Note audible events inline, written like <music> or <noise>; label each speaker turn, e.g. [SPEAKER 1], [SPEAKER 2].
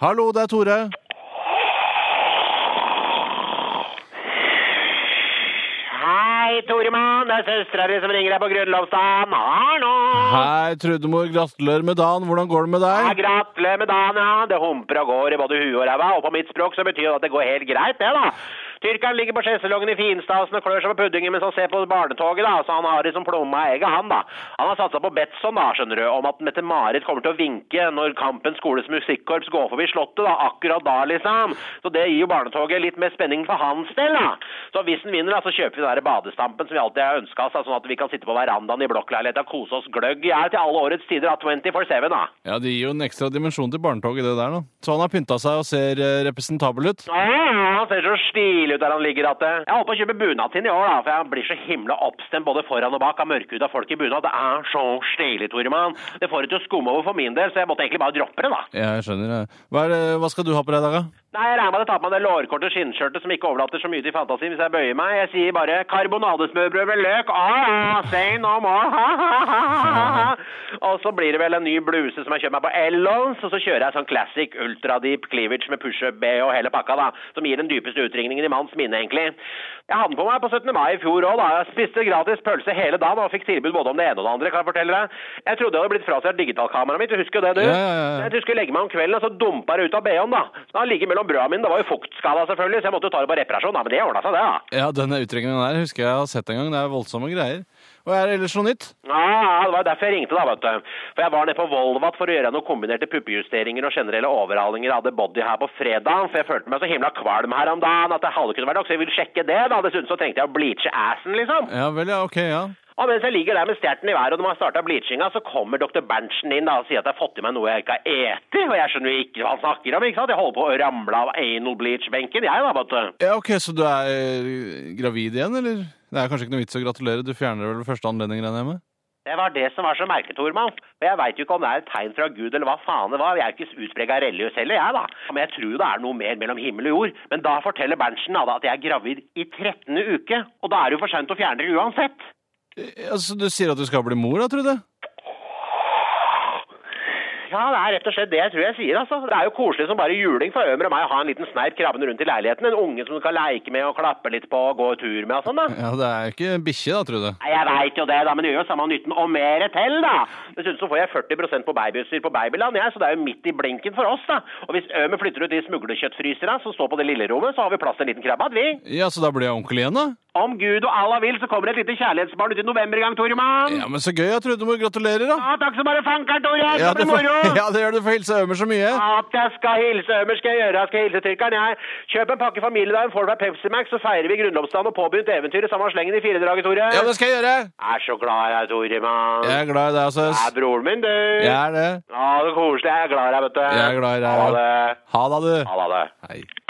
[SPEAKER 1] Hallo, det er Tore.
[SPEAKER 2] Hei, Toremann. Det er søstera di som ringer deg på grunnlovsdagen. Hallo!
[SPEAKER 1] Hei, Trudemor. Gratulerer med dagen. Hvordan går det med
[SPEAKER 2] Ja,
[SPEAKER 1] deg?
[SPEAKER 2] Gratulerer med dagen, ja. Det humper og går i både huet og ræva. Og på mitt språk så betyr det at det går helt greit, det, da. Tyrkeren ligger på skjesselongen i finstasen og klør seg på puddingen mens han ser på barnetoget, da. Så han har liksom plomma i egget, han, da. Han har satsa på Betson, da, skjønner du, om at Mette-Marit kommer til å vinke når Kampen skoles musikkorps går forbi Slottet, da. Akkurat da, liksom. Så det gir jo barnetoget litt mer spenning for hans del, da. Så hvis den vinner, da, så kjøper vi den der badestampen som vi alltid har ønska oss, da, sånn at vi kan sitte på verandaen i blokkleiligheta og kose oss gløgg i hjel til alle årets tider, da. 24-7, da.
[SPEAKER 1] Ja, Det gir jo en ekstra dimensjon til barnetoget, det der. nå. Så han har pynta seg og ser eh, representabel ut.
[SPEAKER 2] Sånn, Ja, Han ser så stilig ut der han ligger. At eh, jeg håper å kjøpe bunad til han i år, da, for jeg blir så himla oppstemt både foran og bak av mørkhuda folk i bunad. Det er så stilig, Toremann. Det får det til å skumme over for min del, så jeg måtte egentlig bare droppe det, da.
[SPEAKER 1] Jeg skjønner. ja. Hva, er det, hva skal du ha på deg i dag, da?
[SPEAKER 2] Nei, jeg regner med at jeg tar på meg det lårkorte skinnskjørtet som ikke overlater så mye til fantasien hvis jeg bøyer meg. Jeg sier bare karbonadesmørbrød med løk. Ah, ah, say no more. Ha, ha, ha, ha, ha. Og så blir det vel en ny bluse som jeg kjøper meg på Ellons, og så kjører jeg sånn classic ultradeep cleavage med push-up B og hele pakka, da. Som gir den dypeste utringningen i manns minne, egentlig. Jeg hadde den på meg på 17. mai i fjor òg, da. Jeg spiste gratis pølse hele dagen og fikk tilbud både om det ene og det andre, kan jeg fortelle deg. Jeg trodde jeg hadde blitt frastjålet digitalkameraet mitt, du husker jo det, du?
[SPEAKER 1] Ja, ja, ja.
[SPEAKER 2] Jeg jeg skulle legge meg om kvelden, og så dumpa det ut av BH-en, da. Den har ligget mellom brøda mine. Det var jo fuktskada, selvfølgelig, så jeg måtte jo ta det på reparasjon, da. Men det ordna seg, det, da.
[SPEAKER 1] Ja, Den utregningen der husker jeg har sett en gang. Det er voldsomme greier. Og er det ellers noe nytt?
[SPEAKER 2] Ja, det var jo derfor jeg ringte, da, vet du. For jeg var nede på Volvat for å gjøre noen kombinerte puppejusteringer og generelle overhalinger av The Body her på fredag, for jeg følte meg så himla kvalm her om dagen at det halve kunne vært nok, så jeg vil sjekke det, da. Dessuten så trengte jeg å bleache assen, liksom.
[SPEAKER 1] Ja vel, ja. Ok, ja.
[SPEAKER 2] Og mens jeg ligger der med stjerten i været og de har starta bleachinga, så kommer dr. Berntsen inn da og sier at jeg har fått i meg noe jeg ikke har eti, og jeg skjønner jo ikke hva han snakker om, ikke sant? Jeg holder på å ramle av anal bleach-benken, jeg da, vet du.
[SPEAKER 1] Ja, ok, Så du er eh, gravid igjen, eller? Det er kanskje ikke noe vits å gratulere. Du fjerner det vel ved første anledning, regner jeg med?
[SPEAKER 2] Det var det som var så merket, Tormann. For jeg veit jo ikke om det er et tegn fra Gud, eller hva faen det var. Jeg er jo ikke utprega religiøs heller, jeg, da. Men jeg tror jo det er noe mer mellom himmel og jord. Men da forteller Berntsen da, at jeg er gravid i 13. uke, og da er det jo for seint å fjerne det uansett.
[SPEAKER 1] Eh, Altså, Du sier at du skal bli mor, da, Trude?
[SPEAKER 2] Ja, det er rett og slett det jeg tror jeg sier, altså. Det er jo koselig som bare juling for Ømer og meg å ha en liten sneip krabbende rundt i leiligheten. En unge som du kan leke med og klappe litt på og gå tur med og sånn, da.
[SPEAKER 1] Ja, det er jo ikke en bikkje, da, Trude.
[SPEAKER 2] Nei, Jeg veit jo det, da, men det gjør jo samme nytten og mere til, da. Dessuten så får jeg 40 på babyutstyr på babyland, jeg, så det er jo midt i blinken for oss, da. Og hvis Ømer flytter ut de smuglekjøttfryserne som står på det lille rommet, så har vi plass til en liten krabbe, at vi.
[SPEAKER 1] Ja, Så da blir jeg onkel igjen, da?
[SPEAKER 2] Om Gud og Allah vil, så kommer et lite kjærlighetsbarn ut i november i gang, Toremann.
[SPEAKER 1] Ja, men Så gøy, ja, Trudemor. Gratulerer, da.
[SPEAKER 2] Ja, takk som bare fanker'n, Tore. Det
[SPEAKER 1] Ja,
[SPEAKER 2] blir
[SPEAKER 1] får-
[SPEAKER 2] moro.
[SPEAKER 1] <laughs> ja, det gjør du. Du får hilse Ømer så mye.
[SPEAKER 2] At jeg skal hilse Ømer, skal jeg gjøre. Jeg skal hilse tyrkeren, jeg. Kjøp en pakke familiedagen, får du deg Pepsi Max, så feirer vi grunnlovsdagen og påbegynt eventyret sammen med slengen i fire dager, Tore.
[SPEAKER 1] Ja, det skal jeg gjøre.
[SPEAKER 2] Jeg er så glad i deg, Tore, mann.
[SPEAKER 1] Jeg er glad i deg,
[SPEAKER 2] Det er
[SPEAKER 1] søs.
[SPEAKER 2] broren min, du.
[SPEAKER 1] Jeg er det.
[SPEAKER 2] Ja, det er koselig. Jeg er glad i deg, vet du.
[SPEAKER 1] Jeg er glad i deg.
[SPEAKER 2] Ha det.
[SPEAKER 1] Ha det, du.
[SPEAKER 2] Ha det.
[SPEAKER 1] Hei.